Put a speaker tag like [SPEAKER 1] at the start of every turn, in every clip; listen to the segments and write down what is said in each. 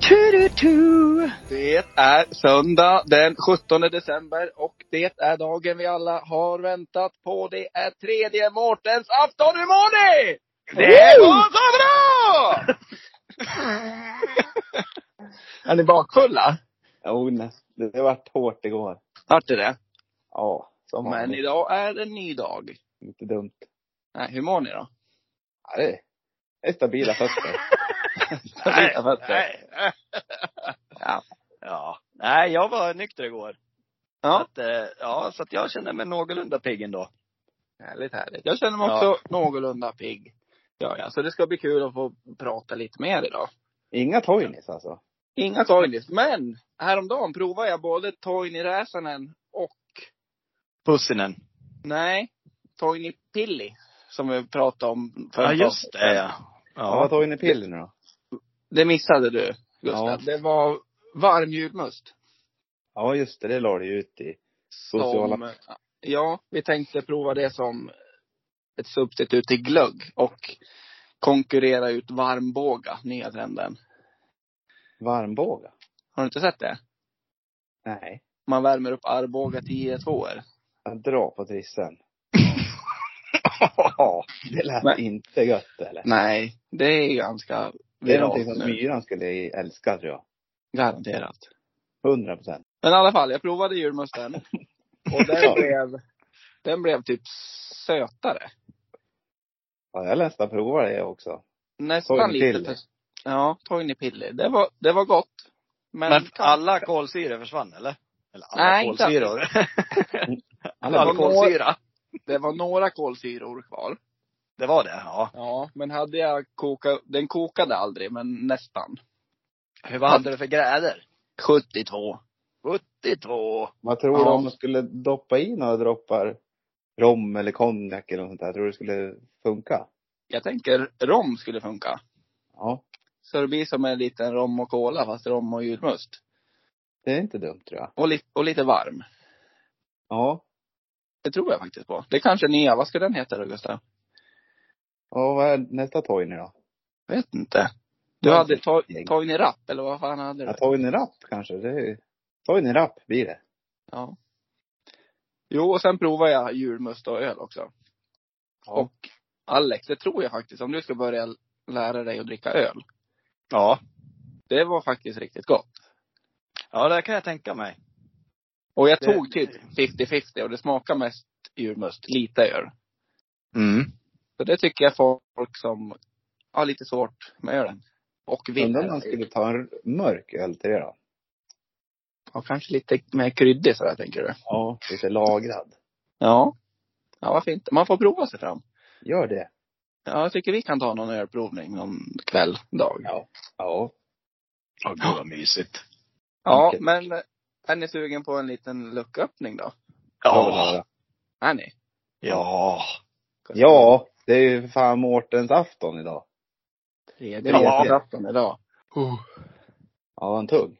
[SPEAKER 1] Du-du-du-du-du-du-du. Det är söndag den 17 december och det är dagen vi alla har väntat på. Det är tredje Mårtens afton. Hur mår ni? Det
[SPEAKER 2] Woo!
[SPEAKER 1] går så bra! är ni bakfulla?
[SPEAKER 2] Jo, oh, näst, det har varit hårt igår.
[SPEAKER 1] Vart är det?
[SPEAKER 2] Ja, som
[SPEAKER 1] Men
[SPEAKER 2] vanligt.
[SPEAKER 1] idag är en ny dag.
[SPEAKER 2] Lite dumt.
[SPEAKER 1] Nej, hur mår ni då?
[SPEAKER 2] Ja, det är- det är stabila fötter.
[SPEAKER 1] Stabila fötter.
[SPEAKER 3] ja.
[SPEAKER 1] Ja.
[SPEAKER 3] ja. Nej, jag var nykter igår.
[SPEAKER 1] Ja.
[SPEAKER 3] Så att, eh, ja, så att jag känner mig någorlunda pigg ändå.
[SPEAKER 1] Härligt, härligt. Jag känner mig också någorlunda pigg. Ja, ja. Så det ska bli kul att få prata lite mer idag.
[SPEAKER 2] Inga toinis alltså.
[SPEAKER 1] Inga Toinis, men häromdagen provade jag både Toini Räsänen och,
[SPEAKER 3] Pussinen.
[SPEAKER 1] nej, Toini Pilli. Som vi pratade om
[SPEAKER 3] Ja,
[SPEAKER 1] förra
[SPEAKER 3] just det
[SPEAKER 1] gången.
[SPEAKER 3] ja.
[SPEAKER 2] Ja. Vad
[SPEAKER 3] Ja.
[SPEAKER 2] toinipiller nu då?
[SPEAKER 1] Det missade du, Gustav.
[SPEAKER 2] Ja.
[SPEAKER 1] Det var varm julmust.
[SPEAKER 2] Ja, just det. Det la du ju ut i.
[SPEAKER 1] Som,
[SPEAKER 2] Sociala.
[SPEAKER 1] Ja, vi tänkte prova det som ett substitut till glögg och konkurrera ut varmbåga, nya trenden.
[SPEAKER 2] Varmbåga?
[SPEAKER 1] Har du inte sett det?
[SPEAKER 2] Nej.
[SPEAKER 1] Man värmer upp Arboga 10 2
[SPEAKER 2] Jag drar på trissen.
[SPEAKER 1] Ja.
[SPEAKER 2] Det lät
[SPEAKER 1] Men-
[SPEAKER 2] inte gött eller?
[SPEAKER 1] Nej, det är ganska
[SPEAKER 2] Det är
[SPEAKER 1] viralt
[SPEAKER 2] någonting som
[SPEAKER 1] nu.
[SPEAKER 2] myran skulle älska tror jag.
[SPEAKER 1] Garanterat.
[SPEAKER 2] Hundra procent.
[SPEAKER 1] Men i alla fall, jag provade julmusten. Och den blev, den blev typ sötare.
[SPEAKER 2] Ja, jag nästan provar det också.
[SPEAKER 1] Nästan
[SPEAKER 2] Toini
[SPEAKER 1] lite
[SPEAKER 2] Pilli.
[SPEAKER 1] för, Ja, toinipilli. Det var, det var gott. Men,
[SPEAKER 3] Men
[SPEAKER 1] kanske-
[SPEAKER 3] alla kolsyror försvann eller? Eller alla
[SPEAKER 1] Nej, inte
[SPEAKER 3] kolsyror.
[SPEAKER 2] Alla
[SPEAKER 3] alla
[SPEAKER 1] var några-
[SPEAKER 3] kolsyra.
[SPEAKER 1] det var några kolsyror kvar.
[SPEAKER 3] Det var det, ja.
[SPEAKER 1] Ja, men hade jag kokat, den kokade aldrig, men nästan.
[SPEAKER 3] Hur, vad hade du för grädor?
[SPEAKER 1] 72.
[SPEAKER 3] 72.
[SPEAKER 2] Vad tror du
[SPEAKER 1] Ja.
[SPEAKER 2] om man skulle doppa i några droppar rom eller konjak eller något sånt där? Tror du det skulle funka?
[SPEAKER 1] Jag tänker rom skulle funka.
[SPEAKER 2] Ja.
[SPEAKER 1] Så det blir som en liten rom och cola, fast rom och julmust.
[SPEAKER 2] Det är inte dumt tror jag.
[SPEAKER 1] Och, li, och lite varm.
[SPEAKER 2] Ja.
[SPEAKER 1] Det tror jag faktiskt på. Det kanske är nya, vad ska den heta då, Gustav?
[SPEAKER 2] Och vad är nästa toini då?
[SPEAKER 1] Vet inte. Du
[SPEAKER 2] Ja,
[SPEAKER 1] hade
[SPEAKER 2] det-
[SPEAKER 1] to- Toini Rapp, eller vad fan hade du?
[SPEAKER 2] Ja, toini rapp kanske. Det är... Toini rapp blir det.
[SPEAKER 1] Ja. Jo, och sen provar jag julmust och öl också.
[SPEAKER 2] Ja.
[SPEAKER 1] Och Alex, det tror jag faktiskt, om du ska börja lära dig att dricka öl.
[SPEAKER 3] Ja.
[SPEAKER 1] Det var faktiskt riktigt gott.
[SPEAKER 3] Ja, det kan jag tänka mig.
[SPEAKER 1] Och jag
[SPEAKER 3] Det-
[SPEAKER 1] tog typ 50-50 och det smakar mest julmust, lite öl.
[SPEAKER 3] Mm.
[SPEAKER 1] Så det tycker jag folk som har lite svårt med ölen. Och vill.
[SPEAKER 2] Undrar om man skulle ta en mörk öl till det då?
[SPEAKER 1] Ja, kanske lite mer kryddig sådär, tänker du?
[SPEAKER 2] Ja. Lite lagrad.
[SPEAKER 1] Ja. Ja, vad fint. Man får prova sig fram.
[SPEAKER 2] Gör det.
[SPEAKER 1] Ja, jag tycker vi kan ta någon ölprovning någon kväll, dag.
[SPEAKER 2] Ja. Ja.
[SPEAKER 3] Ja, gud vad mysigt.
[SPEAKER 1] Ja,
[SPEAKER 2] Okej.
[SPEAKER 1] men eh, är ni sugen på en liten lucköppning då?
[SPEAKER 3] Ja.
[SPEAKER 1] Är ni?
[SPEAKER 3] Ja.
[SPEAKER 2] Ja. Det är ju för fan Mårtens afton idag.
[SPEAKER 1] Tredje
[SPEAKER 3] Ja.
[SPEAKER 1] nyårsafton idag.
[SPEAKER 2] Ja, en tung.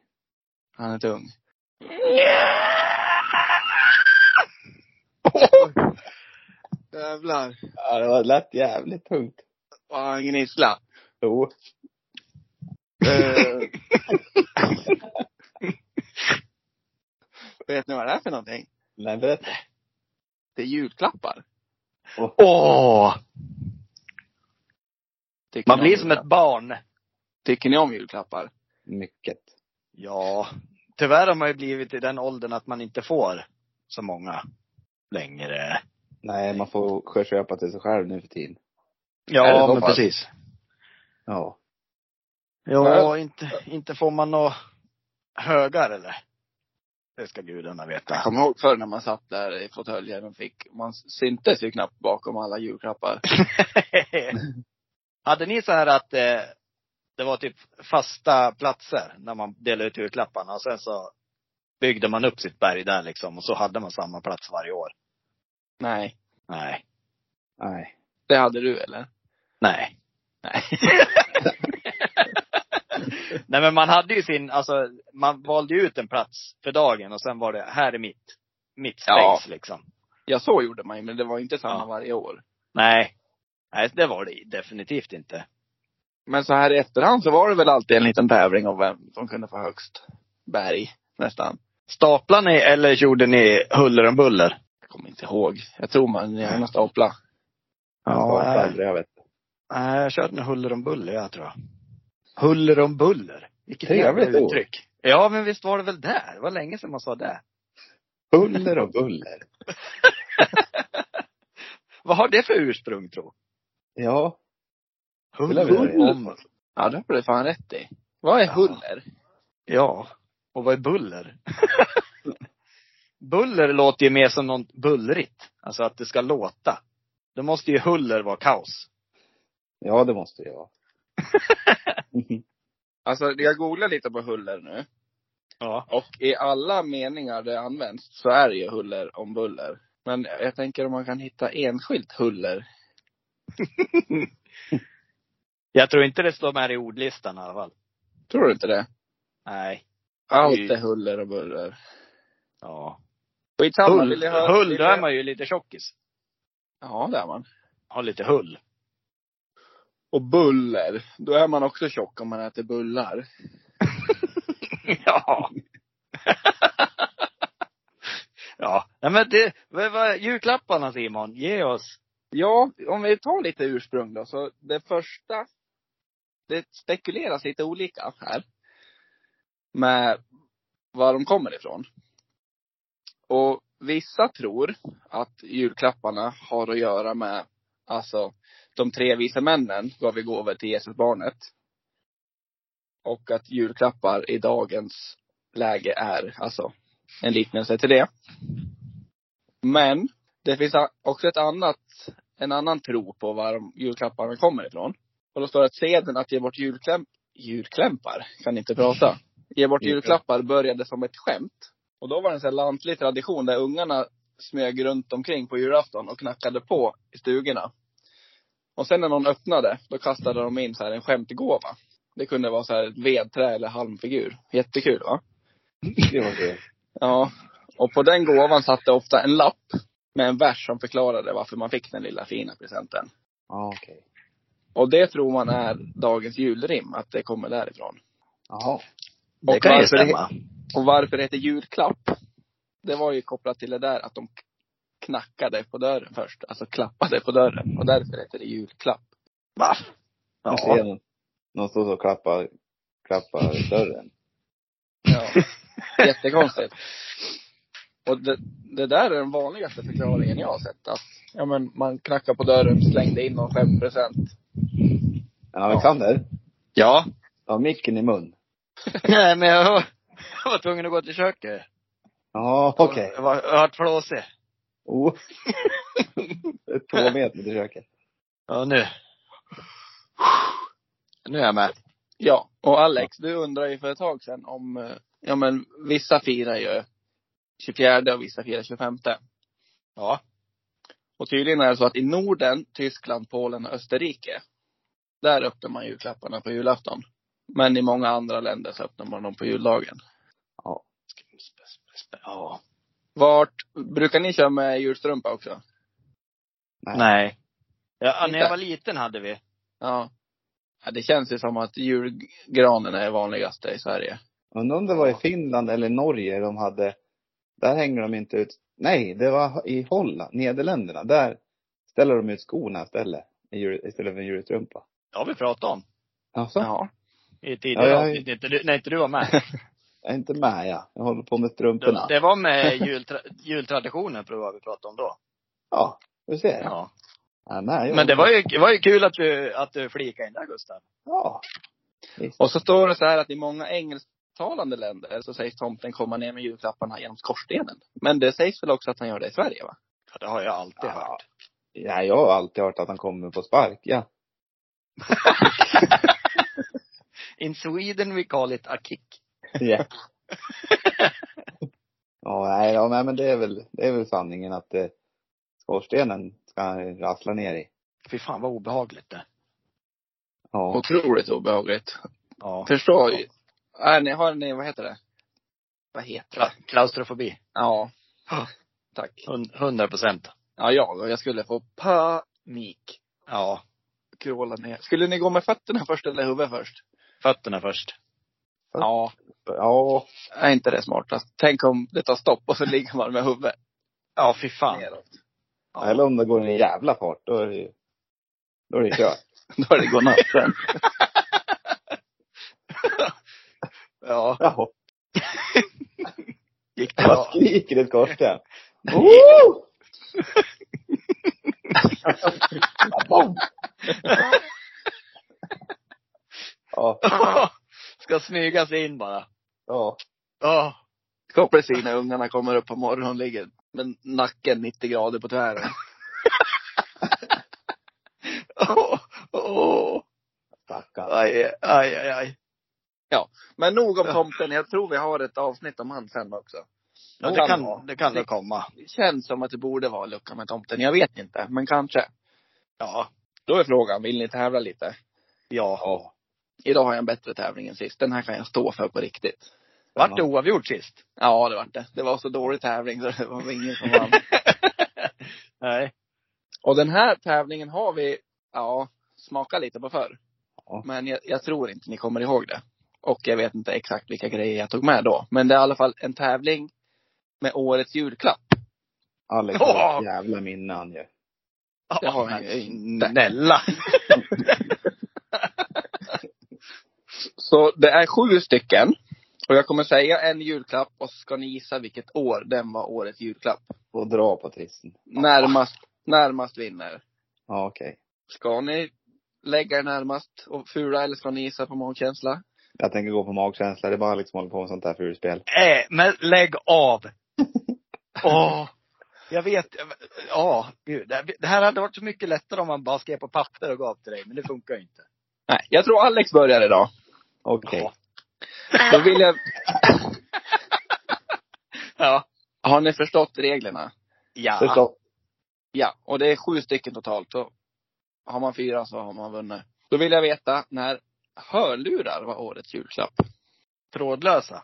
[SPEAKER 1] Han är tung. Jävlar.
[SPEAKER 2] Ja, det var lätt jävligt tungt.
[SPEAKER 1] Vad han gnissla.
[SPEAKER 2] Jo.
[SPEAKER 1] Eh. Vet ni vad det är för någonting?
[SPEAKER 2] Nej, berätta.
[SPEAKER 1] Det är julklappar.
[SPEAKER 3] Åh!
[SPEAKER 1] Tycker
[SPEAKER 3] Man
[SPEAKER 1] ni om
[SPEAKER 3] blir som ett
[SPEAKER 1] julklappar?
[SPEAKER 3] barn.
[SPEAKER 1] Tycker ni om julklappar?
[SPEAKER 2] Mycket.
[SPEAKER 3] Ja, tyvärr har man ju blivit i den åldern att man inte får så många längre.
[SPEAKER 2] Nej, man får köpa till sig själv nu för tiden.
[SPEAKER 1] Är det
[SPEAKER 3] Ja,
[SPEAKER 1] så
[SPEAKER 3] men
[SPEAKER 1] pass?
[SPEAKER 3] precis.
[SPEAKER 2] Ja.
[SPEAKER 3] Ja, inte, inte får man några högar eller? Det ska gudarna
[SPEAKER 1] Jag
[SPEAKER 3] veta.
[SPEAKER 1] kommer ihåg förr när man satt där i fåtöljen och fick, man syntes ju knappt bakom alla julklappar.
[SPEAKER 3] Hade ni så här att eh, det var typ fasta platser när man delade ut julklapparna och sen så byggde man upp sitt berg där liksom och så hade man samma plats varje år?
[SPEAKER 1] Nej.
[SPEAKER 3] Nej.
[SPEAKER 2] Nej.
[SPEAKER 1] Det hade du eller?
[SPEAKER 3] Nej.
[SPEAKER 1] Nej.
[SPEAKER 3] Nej men man hade ju sin, alltså man valde ju ut en plats för dagen och sen var det, här är mitt, mitt space
[SPEAKER 1] Ja.
[SPEAKER 3] liksom.
[SPEAKER 1] Ja, så gjorde man ju, men det var inte samma
[SPEAKER 3] Ja.
[SPEAKER 1] varje år.
[SPEAKER 3] Nej. Nej, det var det definitivt inte.
[SPEAKER 1] Men så här i efterhand så var det väl alltid en liten tävling om vem som kunde få högst berg, nästan.
[SPEAKER 3] Staplar ni eller gjorde ni huller om buller?
[SPEAKER 1] Jag kommer inte ihåg. Jag tror man gärna stapla.
[SPEAKER 2] Ja,
[SPEAKER 3] nej.
[SPEAKER 2] aldrig, jag vet.
[SPEAKER 3] Nej, jag körde med huller om buller, jag tror jag. Huller om buller. Vilket
[SPEAKER 2] Trevligt
[SPEAKER 3] jävla
[SPEAKER 2] ord.
[SPEAKER 3] uttryck. Ja, men visst var det väl där? Det var länge sedan man sa det.
[SPEAKER 2] Buller och buller.
[SPEAKER 3] Vad har det för ursprung, tro?
[SPEAKER 2] Ja, Huller.
[SPEAKER 3] Huller om...
[SPEAKER 1] Ja, det har du fan rätt i. Vad är
[SPEAKER 3] Ja.
[SPEAKER 1] huller?
[SPEAKER 3] Ja. Och vad är buller? buller låter ju mer som något bullrigt. Alltså att det ska låta. Då måste ju huller vara kaos.
[SPEAKER 2] ja det måste det ju vara.
[SPEAKER 1] Alltså, jag googlar lite på huller nu.
[SPEAKER 3] Ja.
[SPEAKER 1] Och i alla meningar det används så är det ju huller om buller. Men jag tänker om man kan hitta enskilt huller.
[SPEAKER 3] Jag tror inte det står med i ordlistan i alla fall.
[SPEAKER 1] Tror du inte det?
[SPEAKER 3] Nej.
[SPEAKER 1] Allt
[SPEAKER 3] Mm.
[SPEAKER 1] är huller och buller.
[SPEAKER 3] Ja.
[SPEAKER 1] Skitsamma,
[SPEAKER 3] Hull,
[SPEAKER 1] vill ni höra?
[SPEAKER 3] hull,
[SPEAKER 1] vill
[SPEAKER 3] då
[SPEAKER 1] ni-
[SPEAKER 3] är man ju lite tjockis.
[SPEAKER 1] Ja, det är man.
[SPEAKER 3] Har lite hull.
[SPEAKER 1] Och buller, då är man också tjock om man äter bullar.
[SPEAKER 3] ja. ja. Nej men det, vad, vad, julklapparna Simon, ge oss.
[SPEAKER 1] Ja, om vi tar lite ursprung då, så det första, det spekuleras lite olika här. Med var de kommer ifrån. Och vissa tror att julklapparna har att göra med, alltså, de tre vise männen gav vi gåvor till Jesusbarnet. Och att julklappar i dagens läge är, alltså, en liknelse till det. Men, det finns a- också ett annat en annan tro på var de julklapparna kommer ifrån. Och då står det att seden att ge bort julkläm, julklämpar, kan inte prata. Ge bort julklappar började som ett skämt. Och då var det en sån här lantlig tradition där ungarna smög runt omkring på julafton och knackade på i stugorna. Och sen när någon öppnade, då kastade de in så här en skämtgåva. Det kunde vara så här ett vedträ eller halmfigur. Jättekul va?
[SPEAKER 2] Det var det.
[SPEAKER 1] Ja. Och på den gåvan satt det ofta en lapp med en vers som förklarade varför man fick den lilla fina presenten.
[SPEAKER 2] Ja, okej.
[SPEAKER 1] Och det tror man är dagens julrim, att det kommer därifrån.
[SPEAKER 2] Jaha.
[SPEAKER 3] Det
[SPEAKER 1] Och
[SPEAKER 3] kan ju
[SPEAKER 1] varför det-
[SPEAKER 3] stämma.
[SPEAKER 1] Och varför det heter julklapp, det var ju kopplat till det där att de knackade på dörren först. Alltså klappade på dörren. Och därför heter det julklapp.
[SPEAKER 3] Va?
[SPEAKER 2] Jag
[SPEAKER 3] Ja.
[SPEAKER 2] ser någon, någon stå och klappa, klappa dörren.
[SPEAKER 1] Ja. Jättekonstigt. Och det, det där är den vanligaste förklaringen jag har sett. Att, ja men man knackade på dörren, slängde in någon skämtpresent.
[SPEAKER 2] Ja, men kan det.
[SPEAKER 3] ja.
[SPEAKER 2] Ja, micken i mun.
[SPEAKER 3] Nej men jag, var- jag var tvungen att gå till köket.
[SPEAKER 2] Ja, okej.
[SPEAKER 3] Jag var, jag var flåsig.
[SPEAKER 2] Oh. Det är Två meter till köket.
[SPEAKER 3] Ja nu. Nu är jag med.
[SPEAKER 1] Ja, och Alex, du undrar ju för ett tag sedan om, eh, ja men vissa firar ju 24 och vissa firar 25.
[SPEAKER 3] Ja.
[SPEAKER 1] Och tydligen är det så att i Norden, Tyskland, Polen och Österrike, där öppnar man julklapparna på julafton. Men i många andra länder så öppnar man dem på juldagen.
[SPEAKER 3] Ja.
[SPEAKER 1] Vart, brukar ni köra med julstrumpa också?
[SPEAKER 3] Nej. Ja,
[SPEAKER 1] Inte.
[SPEAKER 3] när jag var liten hade vi.
[SPEAKER 1] Ja. ja det känns ju som att julgranen är vanligaste i Sverige.
[SPEAKER 2] Undrar om det var i Finland eller Norge de hade, där hänger de inte ut, nej det var i Holland, Nederländerna, där ställer de ut skorna istället, i jul- istället för en julstrumpa.
[SPEAKER 3] Det har vi pratat om
[SPEAKER 2] Alltså,
[SPEAKER 1] Ja.
[SPEAKER 3] i tidigare
[SPEAKER 2] Ja, ja, ja.
[SPEAKER 3] avsnitt. Inte du- När inte du var med.
[SPEAKER 2] jag är inte med ja. jag håller på med
[SPEAKER 3] Det,
[SPEAKER 2] strumporna.
[SPEAKER 3] det var med jultra, jultraditionen, tror jag vi pratade om då.
[SPEAKER 2] Ja, du ser. Ja.
[SPEAKER 3] Ja.
[SPEAKER 2] nej, jag-
[SPEAKER 3] Men det var ju, det var ju kul att du, att du flikade in där Gustav.
[SPEAKER 2] Ja. Visst.
[SPEAKER 1] Och så står det så här att i många engelsktalande länder så sägs tomten komma ner med julklapparna genom skorstenen. Men det sägs väl också att han gör det i Sverige va?
[SPEAKER 3] Ja, det har jag alltid
[SPEAKER 2] Ja.
[SPEAKER 3] hört.
[SPEAKER 2] Ja, jag har alltid hört att han kommer på spark, ja.
[SPEAKER 3] In Sweden we call it a kick.
[SPEAKER 2] Ja. ja, nej, ja, nej, men det är väl, det är väl sanningen att eh, skorstenen ska han rassla ner i.
[SPEAKER 3] Fy fan vad obehagligt det.
[SPEAKER 2] Ja.
[SPEAKER 1] Otroligt obehagligt.
[SPEAKER 3] Ja.
[SPEAKER 1] Förstår ju. Är ni, har ni, vad heter det? Vad heter det?
[SPEAKER 3] Kla- Klaustrofobi.
[SPEAKER 1] Ja. Tack.
[SPEAKER 3] Hun- 100 procent.
[SPEAKER 1] Ja, jag, jag skulle få panik.
[SPEAKER 3] Ja.
[SPEAKER 1] kråla ner. Skulle ni gå med fötterna först eller huvudet först?
[SPEAKER 3] Fötterna först.
[SPEAKER 1] Ja.
[SPEAKER 2] Ja.
[SPEAKER 1] Är inte det smartast? Tänk om det tar stopp och så ligger man med huvudet
[SPEAKER 3] Ja, fy fan.
[SPEAKER 1] neråt.
[SPEAKER 2] Eller om det går i en jävla fart, då är det ju, då är det kört.
[SPEAKER 1] Då är det godnatt sen.
[SPEAKER 3] Ja.
[SPEAKER 2] Jaha.
[SPEAKER 1] Gick det
[SPEAKER 2] Jag
[SPEAKER 1] bra?
[SPEAKER 2] skriker i skorsten. Woo! ja,
[SPEAKER 3] Ska smyga sig in bara.
[SPEAKER 2] ja.
[SPEAKER 3] Ja.
[SPEAKER 1] Kopplar sig när ungarna kommer upp på morgonen ligger med nacken 90 grader på tvären.
[SPEAKER 3] Åh, åh.
[SPEAKER 2] Stackarn.
[SPEAKER 3] Aj, aj, aj, aj.
[SPEAKER 1] Men nog om tomten. Jag tror vi har ett avsnitt om han sen också.
[SPEAKER 3] Ja, det kan, det kan det komma.
[SPEAKER 1] Det känns som att det borde vara lucka med tomten. Jag vet inte, men kanske.
[SPEAKER 3] Ja.
[SPEAKER 1] Då är frågan, vill ni tävla lite?
[SPEAKER 3] Ja.
[SPEAKER 2] Ja.
[SPEAKER 1] Idag har jag en bättre tävling än sist. Den här kan jag stå för på riktigt.
[SPEAKER 3] Vart det oavgjort sist?
[SPEAKER 1] Ja, det vart det. Det var så dålig tävling så det var ingen som vann.
[SPEAKER 3] Nej.
[SPEAKER 1] Och den här tävlingen har vi, ja, smakat lite på förr.
[SPEAKER 2] Ja.
[SPEAKER 1] Men jag, jag tror inte ni kommer ihåg det. Och jag vet inte exakt vilka grejer jag tog med då. Men det är i alla fall en tävling med årets julklapp.
[SPEAKER 2] Alex har
[SPEAKER 3] Åh!
[SPEAKER 2] ett jävla minne han ju.
[SPEAKER 1] Det har han ju inte.
[SPEAKER 3] Snälla.
[SPEAKER 1] Så det är sju stycken. Och jag kommer säga en julklapp och så ska ni gissa vilket år den var årets julklapp.
[SPEAKER 2] Och dra på trissen.
[SPEAKER 1] Närmast, närmast vinner.
[SPEAKER 2] Ja, okej.
[SPEAKER 1] Ska ni lägga er närmast och fula eller ska ni gissa på magkänsla?
[SPEAKER 2] Jag tänker gå på magkänsla. Det är bara Alex som håller på med sånt här fulspel.
[SPEAKER 3] Nej, Eh, men lägg av. Åh. Jag vet. Ja, gud. Det här- det här hade varit så mycket lättare om man bara skrev på papper och gav till dig. Men det funkar ju inte.
[SPEAKER 1] Nej, jag tror Alex börjar idag.
[SPEAKER 2] Okej.
[SPEAKER 3] Ja.
[SPEAKER 1] Då vill jag,
[SPEAKER 3] Ja.
[SPEAKER 1] har ni förstått reglerna?
[SPEAKER 3] Ja.
[SPEAKER 2] Förstå.
[SPEAKER 1] Ja, och det är sju stycken totalt. Så har man fyra så har man vunnit. Då vill jag veta när hörlurar var årets julklapp.
[SPEAKER 3] Trådlösa.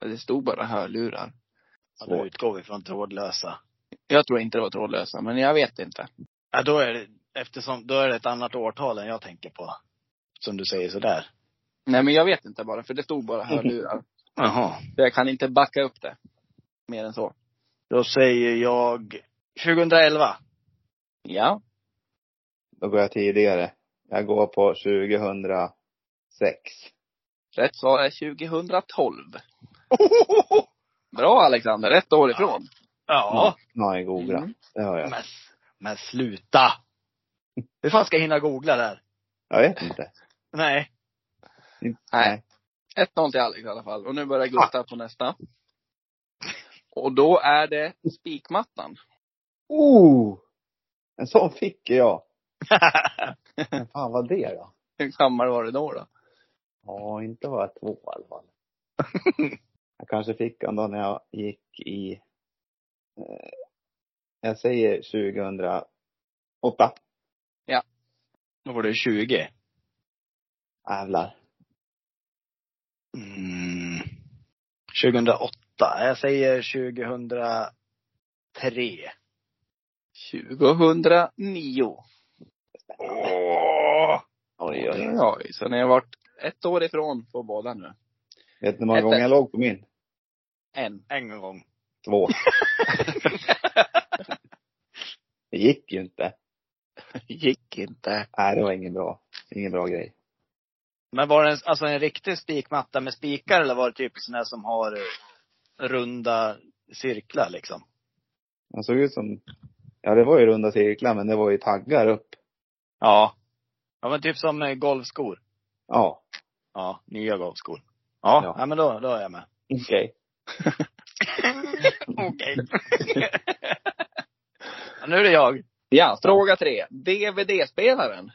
[SPEAKER 1] Det stod bara hörlurar.
[SPEAKER 3] Ja, då utgår vi från trådlösa.
[SPEAKER 1] Jag tror inte det var trådlösa, men jag vet inte.
[SPEAKER 3] Ja, då är det, eftersom, då är det ett annat årtal än jag tänker på. Som du säger sådär.
[SPEAKER 1] Nej, men jag vet inte bara, för det stod bara hörlurar.
[SPEAKER 3] Jaha.
[SPEAKER 1] Så jag kan inte backa upp det. Mer än så.
[SPEAKER 3] Då säger jag 2011.
[SPEAKER 1] Ja.
[SPEAKER 2] Då går jag tidigare. Jag går på 2006.
[SPEAKER 1] Rätt svar är 2012. Bra Alexander, ett år ifrån.
[SPEAKER 3] Ja.
[SPEAKER 2] Ja, jag googlar.
[SPEAKER 1] Mm.
[SPEAKER 2] Det har jag.
[SPEAKER 3] Men, men sluta! Hur fan ska jag hinna googla där?
[SPEAKER 2] Jag vet inte.
[SPEAKER 3] Nej.
[SPEAKER 1] Nej. 1-0 till Alex i alla fall. Och nu börjar Gustav på nästa. Och då är det spikmattan.
[SPEAKER 2] Oh! En sån fick jag. Men fan vad det då?
[SPEAKER 1] Hur gammal var du då? då?
[SPEAKER 2] Ja, inte var jag två i alla fall. jag kanske fick den då när jag gick i, eh, jag säger 2008.
[SPEAKER 3] Då var det 20.
[SPEAKER 2] Jävlar.
[SPEAKER 3] Mm. 2008. Jag säger 2003.
[SPEAKER 1] 2009.
[SPEAKER 3] Åh!
[SPEAKER 1] Oj, oj, oj. Så ni har varit ett år ifrån på båda nu.
[SPEAKER 2] Vet ni hur många
[SPEAKER 1] Ett-
[SPEAKER 2] gånger jag låg på min?
[SPEAKER 1] En.
[SPEAKER 3] En gång.
[SPEAKER 2] Två. det gick ju inte.
[SPEAKER 1] Gick inte.
[SPEAKER 2] Nej, det var ingen bra, ingen bra grej.
[SPEAKER 3] Men var det en, alltså en riktig spikmatta med spikar eller var det typ sådana som har eh, runda cirklar liksom?
[SPEAKER 2] Den såg ut som, ja det var ju runda cirklar men det var ju taggar upp.
[SPEAKER 3] Ja. Ja men typ som eh, golfskor.
[SPEAKER 2] Ja.
[SPEAKER 3] Ja, nya golfskor. Ja,
[SPEAKER 2] Ja.
[SPEAKER 3] ja. men då, då är jag med.
[SPEAKER 2] Okej.
[SPEAKER 3] Okej. Ja, nu är det jag.
[SPEAKER 1] Ja, fråga tre. DVD-spelaren.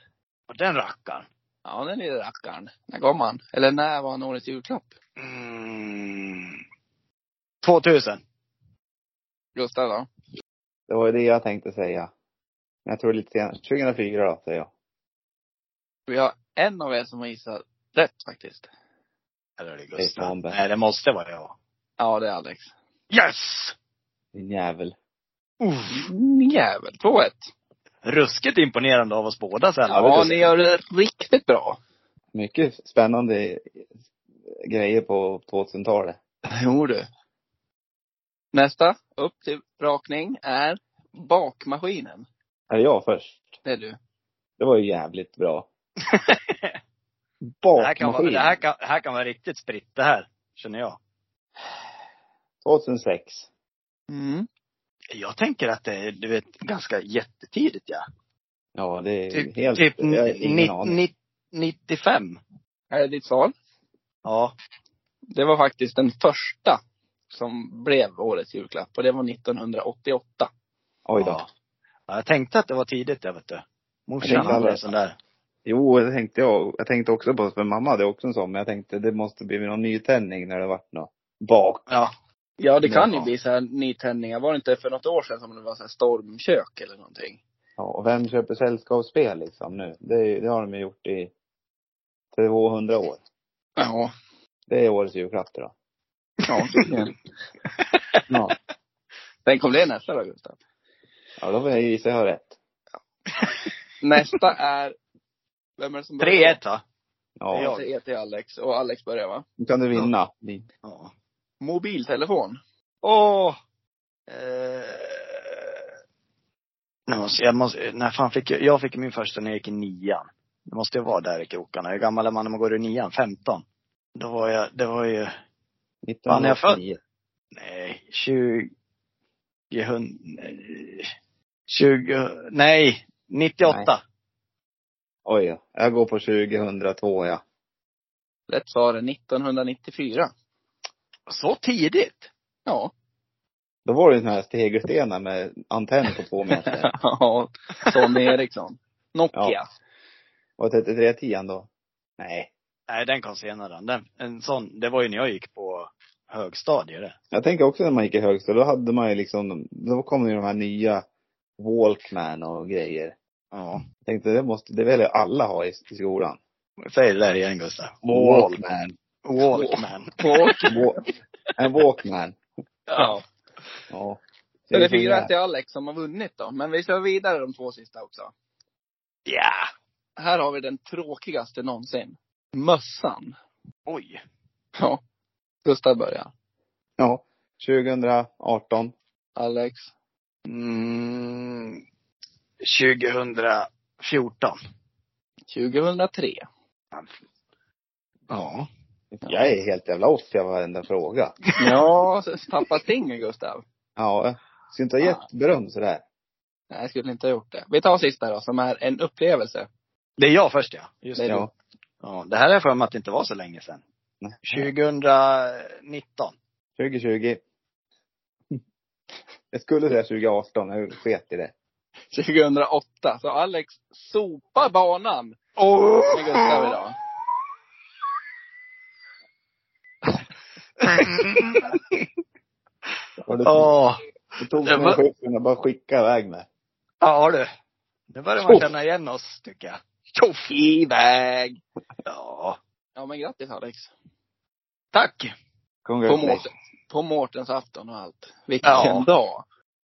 [SPEAKER 3] Och Den rackaren.
[SPEAKER 1] Ja, den lille rackaren. När kom han? Eller när var han årets julklapp?
[SPEAKER 3] Mm. 2000.
[SPEAKER 1] Gustav då?
[SPEAKER 2] Det var ju det jag tänkte säga. Men jag tror lite senare. 2004 då, säger jag.
[SPEAKER 1] Vi har en av er som har gissat rätt faktiskt.
[SPEAKER 3] Eller är det
[SPEAKER 2] Det är
[SPEAKER 3] Gustav?
[SPEAKER 2] Svanberg.
[SPEAKER 3] Nej, det måste vara jag.
[SPEAKER 1] Ja, det är Alex.
[SPEAKER 3] Yes!
[SPEAKER 2] Din jävel.
[SPEAKER 3] Uff.
[SPEAKER 1] Mm, Jävel. 2-1.
[SPEAKER 3] ruskigt imponerande av oss båda sen.
[SPEAKER 1] Ja, ni gör det riktigt bra.
[SPEAKER 2] Mycket spännande grejer på 2000-talet.
[SPEAKER 1] Jo du. Nästa upp till rakning är bakmaskinen.
[SPEAKER 2] Är det jag först?
[SPEAKER 1] Det är du.
[SPEAKER 2] Det var ju jävligt bra.
[SPEAKER 3] det, här kan vara,
[SPEAKER 2] Bakmaskin.
[SPEAKER 3] det, här kan, det här kan vara riktigt spritt det här, känner jag.
[SPEAKER 2] 2006.
[SPEAKER 1] Mm.
[SPEAKER 3] Jag tänker att det är, du vet, ganska jättetidigt ja.
[SPEAKER 2] Ja, det är
[SPEAKER 3] Typ,
[SPEAKER 2] helt...
[SPEAKER 3] typ
[SPEAKER 2] jag har ingen
[SPEAKER 3] ni,
[SPEAKER 2] aning.
[SPEAKER 3] ni, 95.
[SPEAKER 1] Här är ditt svar.
[SPEAKER 3] Ja.
[SPEAKER 1] Det var faktiskt den första som blev årets julklapp och det var 1988.
[SPEAKER 2] Oj då.
[SPEAKER 3] ja. Ja, Jag tänkte att det var tidigt jag vet du.
[SPEAKER 2] Jag
[SPEAKER 3] Morsan
[SPEAKER 2] tänkte
[SPEAKER 3] hade
[SPEAKER 2] aldrig-
[SPEAKER 3] en sån där.
[SPEAKER 2] Jo, det tänkte jag. Jag tänkte också på, för mamma hade också en sån, men jag tänkte det måste bli någon nytändning när det vart något bak.
[SPEAKER 3] Ja.
[SPEAKER 1] Ja, det kan ju
[SPEAKER 2] Ja.
[SPEAKER 1] bli så här nytändningar. Var det inte för något år sedan som det var så här stormkök eller någonting?
[SPEAKER 2] Ja, och vem köper sällskapsspel liksom nu? Det, är- det har de ju gjort i 200 år.
[SPEAKER 1] Ja.
[SPEAKER 2] Det är årets julklapp då.
[SPEAKER 1] Ja, tydligen.
[SPEAKER 2] Ja,
[SPEAKER 1] Sen kom det nästa då, Gustav.
[SPEAKER 2] ja då får jag gissa jag har rätt.
[SPEAKER 1] Nästa är... Vem är det som
[SPEAKER 3] 3-1 va?
[SPEAKER 2] Ja,
[SPEAKER 1] Ja, 3-1 till Alex. Och Alex börjar va?
[SPEAKER 2] nu kan du vinna.
[SPEAKER 3] Ja.
[SPEAKER 1] Mobiltelefon.
[SPEAKER 3] Åh! Eh, nu måste, jag måste, när fan fick jag, jag fick min första när jag gick i nian. Det måste ju vara där i krokarna. Hur gammal är man när man går i nian? 15? Då var jag, det var ju, Fan, är jag född?
[SPEAKER 2] 1989.
[SPEAKER 3] nej, 20, 20, nej, 98.
[SPEAKER 2] Oj, ja. jag går på 2002 ja.
[SPEAKER 1] Rätt svar är 1994.
[SPEAKER 3] Så tidigt?
[SPEAKER 1] Ja.
[SPEAKER 2] Då var det ju såna här tegelstenar med antenn på två meter.
[SPEAKER 1] ja, Sonny Eriksson. Nokia.
[SPEAKER 2] Ja. Var 3310 då? Nej.
[SPEAKER 3] Nej, den kom senare. Den, en sån, det var ju när jag gick på högstadiet det.
[SPEAKER 2] Jag tänker också när man gick i högstadiet, då hade man ju liksom, då kom ju de här nya Walkman och grejer.
[SPEAKER 3] Ja.
[SPEAKER 2] Jag tänkte det måste, det vill ju alla ha i, i skolan.
[SPEAKER 3] Säg det där igen Gustav.
[SPEAKER 2] Walkman.
[SPEAKER 3] Walkman.
[SPEAKER 1] Och,
[SPEAKER 2] Wa- En Walkman.
[SPEAKER 1] ja.
[SPEAKER 2] Ja.
[SPEAKER 1] Så det är 4 till Alex som har vunnit då. Men vi kör vidare de två sista också.
[SPEAKER 3] Ja.
[SPEAKER 1] Här har vi den tråkigaste någonsin. Mössan.
[SPEAKER 3] Oj.
[SPEAKER 1] Ja. Gustav börjar.
[SPEAKER 2] Ja. 2018.
[SPEAKER 1] Alex.
[SPEAKER 3] Mm, 2014.
[SPEAKER 1] 2003.
[SPEAKER 3] Ja.
[SPEAKER 2] Jag är helt jävla off i varenda fråga.
[SPEAKER 1] Ja, så tappat tinget Gustav.
[SPEAKER 2] Ja. jag Skulle inte ha gett beröm sådär.
[SPEAKER 1] Nej, jag skulle inte ha gjort det. Vi tar sista då, som är en upplevelse.
[SPEAKER 3] Det är jag först ja. Just
[SPEAKER 1] Det är
[SPEAKER 3] det.
[SPEAKER 1] du.
[SPEAKER 2] Ja.
[SPEAKER 3] Ja, det här är för mig att det inte var så länge sedan.
[SPEAKER 2] Nej.
[SPEAKER 3] 2019.
[SPEAKER 2] 2020. Jag skulle säga 2018, jag sket i det.
[SPEAKER 1] 2008. Så Alex sopar banan
[SPEAKER 3] Oh!
[SPEAKER 1] med Gustav idag.
[SPEAKER 2] Och det,
[SPEAKER 3] Åh.
[SPEAKER 2] det tog
[SPEAKER 3] det
[SPEAKER 2] mig
[SPEAKER 3] var-
[SPEAKER 2] skjutsen och bara skicka iväg mig.
[SPEAKER 3] Ja du. Nu börjar man känna igen oss tycker jag.
[SPEAKER 1] Tjoff iväg!
[SPEAKER 3] Ja.
[SPEAKER 1] Ja men grattis Alex.
[SPEAKER 3] Tack.
[SPEAKER 1] På,
[SPEAKER 2] Congratulations.
[SPEAKER 1] Mårten, på Mårtens afton och allt. Vilken
[SPEAKER 3] Ja.
[SPEAKER 1] dag!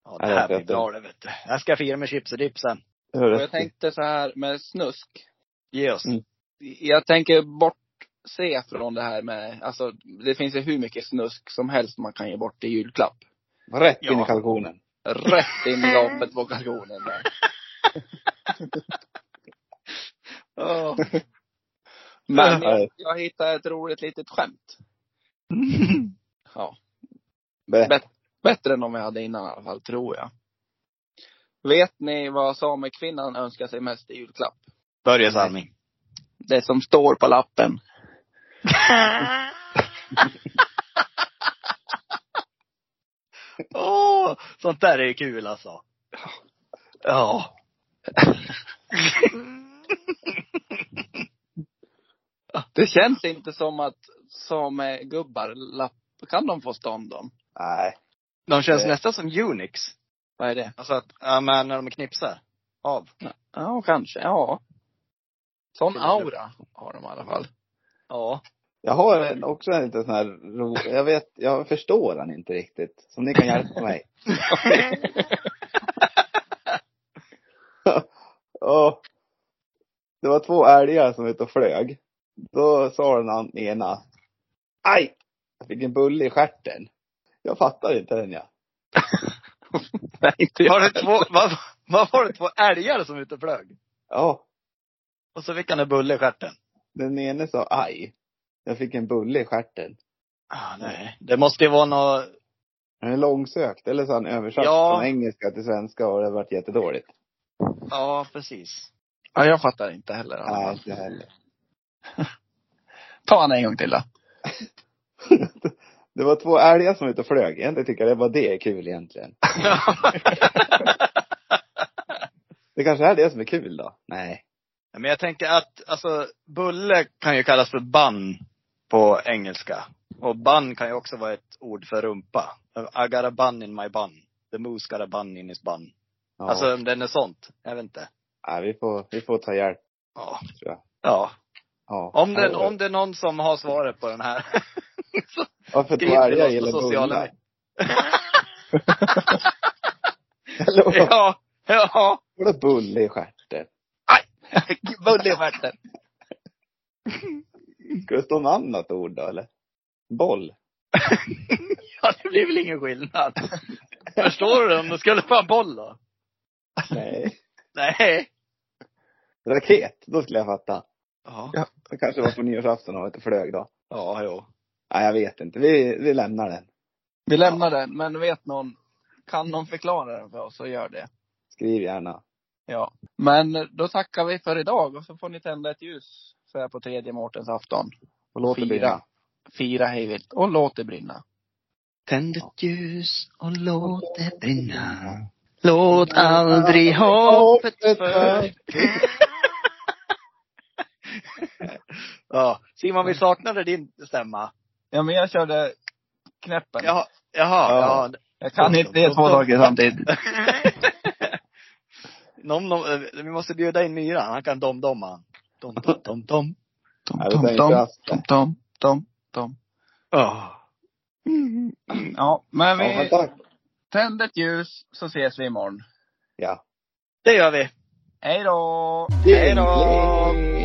[SPEAKER 3] Ja,
[SPEAKER 2] Ja,
[SPEAKER 3] det
[SPEAKER 2] det
[SPEAKER 3] här
[SPEAKER 2] vet
[SPEAKER 3] blir
[SPEAKER 2] jag.
[SPEAKER 3] bra det vet du. Jag ska fira med chips och dipp sen.
[SPEAKER 2] Det var
[SPEAKER 1] Och
[SPEAKER 2] rätt
[SPEAKER 1] jag tänkte så här med snusk.
[SPEAKER 3] Ge oss.
[SPEAKER 2] Mm.
[SPEAKER 1] Jag tänker bortse från det här med, alltså det finns ju hur mycket snusk som helst man kan ge bort i julklapp.
[SPEAKER 2] Rätt in
[SPEAKER 3] Ja.
[SPEAKER 2] i kalkonen.
[SPEAKER 1] Rätt in i gapet på kalkonen där.
[SPEAKER 3] Åh.
[SPEAKER 1] Men
[SPEAKER 2] Ja.
[SPEAKER 1] jag, jag hittade ett roligt litet skämt. Ja.
[SPEAKER 2] Ber-
[SPEAKER 1] Bet- bättre än de vi hade innan i alla fall, tror jag. Vet ni vad samekvinnan önskar sig mest i julklapp?
[SPEAKER 3] Börje Salming.
[SPEAKER 1] Det som står på lappen.
[SPEAKER 3] Åh, sånt där är ju kul alltså. Ja.
[SPEAKER 1] Det känns inte som att samegubbar, lapp, kan de få stånd dem?
[SPEAKER 2] Nej.
[SPEAKER 3] De känns
[SPEAKER 2] Eh.
[SPEAKER 3] nästan som Unix.
[SPEAKER 1] Vad är det?
[SPEAKER 3] Alltså att, ja men när de knipsar. Av.
[SPEAKER 1] Ja, kanske. Ja. Sån
[SPEAKER 3] Skulle du-
[SPEAKER 1] aura har de i alla fall.
[SPEAKER 3] Ja.
[SPEAKER 2] Jag har en- också en liten sån här ro... Jag vet, jag förstår den inte riktigt. Som ni kan hjälpa mig. Ja. Det var två älgar som var ute och flög. Då sa den ena, aj! Jag fick en bulle i stjärten. Jag fattar inte den jag.
[SPEAKER 1] Nej, inte
[SPEAKER 3] Var
[SPEAKER 1] jag.
[SPEAKER 3] det två, vad, vad var det två älgar som ute och flög?
[SPEAKER 2] Ja,
[SPEAKER 3] Och så fick han en bulle i stjärten.
[SPEAKER 2] den ene sa aj. Jag fick en bulle i stjärten.
[SPEAKER 3] Ah, nej. Det måste ju vara något,
[SPEAKER 2] Den är långsökt, eller så har han översatt
[SPEAKER 3] Ja.
[SPEAKER 2] från engelska till svenska och det har varit jättedåligt.
[SPEAKER 3] ja precis. Ja, jag fattar inte heller.
[SPEAKER 2] Nej, inte heller.
[SPEAKER 1] Ta han en gång till då.
[SPEAKER 2] Det var två älgar som var ute och flög. Egentligen tycker jag det var det är kul egentligen. Det kanske är det som är kul då? Nej.
[SPEAKER 3] Men jag tänker att, alltså, bulle kan ju kallas för bun på engelska. Och bun kan ju också vara ett ord för rumpa. I got a bun in my bun. The moose got a bun in his bun.
[SPEAKER 2] Ja.
[SPEAKER 3] Alltså om den är sånt. Jag vet inte.
[SPEAKER 2] Nej, vi får, vi får ta hjälp
[SPEAKER 3] Ja.
[SPEAKER 2] tror jag.
[SPEAKER 3] ja.
[SPEAKER 2] Ja.
[SPEAKER 3] Om, det,
[SPEAKER 2] Ja,
[SPEAKER 3] om det är någon som har svaret på den här. så
[SPEAKER 2] Varför
[SPEAKER 3] skriv
[SPEAKER 2] två
[SPEAKER 3] till
[SPEAKER 2] älgar
[SPEAKER 3] oss
[SPEAKER 2] gillar
[SPEAKER 3] på sociala
[SPEAKER 2] bullar?
[SPEAKER 3] medier.
[SPEAKER 2] Eller vad?
[SPEAKER 3] ja. Ja.
[SPEAKER 2] Vadå bulle i stjärten?
[SPEAKER 3] Bulle i stjärten.
[SPEAKER 2] Ska det stå något annat ord då eller? Boll?
[SPEAKER 3] Ja, det blir väl ingen skillnad. Förstår du om det skulle vara en boll då?
[SPEAKER 2] Nej.
[SPEAKER 3] Nej.
[SPEAKER 2] Raket? Då skulle jag fatta.
[SPEAKER 3] Ja.
[SPEAKER 2] Det kanske var på nyårsafton och inte flög då.
[SPEAKER 3] Ja, jo.
[SPEAKER 2] Nej, jag vet inte. Vi, vi lämnar den.
[SPEAKER 1] Vi lämnar den, men vet någon, kan någon förklara den för oss så gör det.
[SPEAKER 2] Skriv gärna.
[SPEAKER 1] Ja. Men då tackar vi för idag och så får ni tända ett ljus så här på tredje Mårtens afton.
[SPEAKER 2] Och låt det
[SPEAKER 1] Fira.
[SPEAKER 2] brinna.
[SPEAKER 1] Fira hejvilt och låt det brinna.
[SPEAKER 3] Tänd ett ljus och låt det brinna. Låt aldrig hoppet för... Ja, Simon vi saknade din stämma.
[SPEAKER 1] Ja, men jag körde knäppen.
[SPEAKER 3] Jaha, jaha.
[SPEAKER 2] Ja.
[SPEAKER 3] Ja.
[SPEAKER 1] Jag kan inte det två dagar samtidigt.
[SPEAKER 3] Nom, nom, eh, vi måste bjuda in Myran, han kan dom-domma. Dom, dom, dom, dom.
[SPEAKER 1] Tom,
[SPEAKER 2] Ja, det
[SPEAKER 1] tom,
[SPEAKER 2] tänkte
[SPEAKER 1] tom,
[SPEAKER 2] jag.
[SPEAKER 1] tom, tom, tom, tom.
[SPEAKER 3] Ja.
[SPEAKER 1] Ja, men
[SPEAKER 2] Ja, men
[SPEAKER 1] vi
[SPEAKER 2] tack.
[SPEAKER 1] tänder ett ljus så ses vi imorgon.
[SPEAKER 2] Ja.
[SPEAKER 3] Det gör vi.
[SPEAKER 1] Hej då!
[SPEAKER 3] Hej då!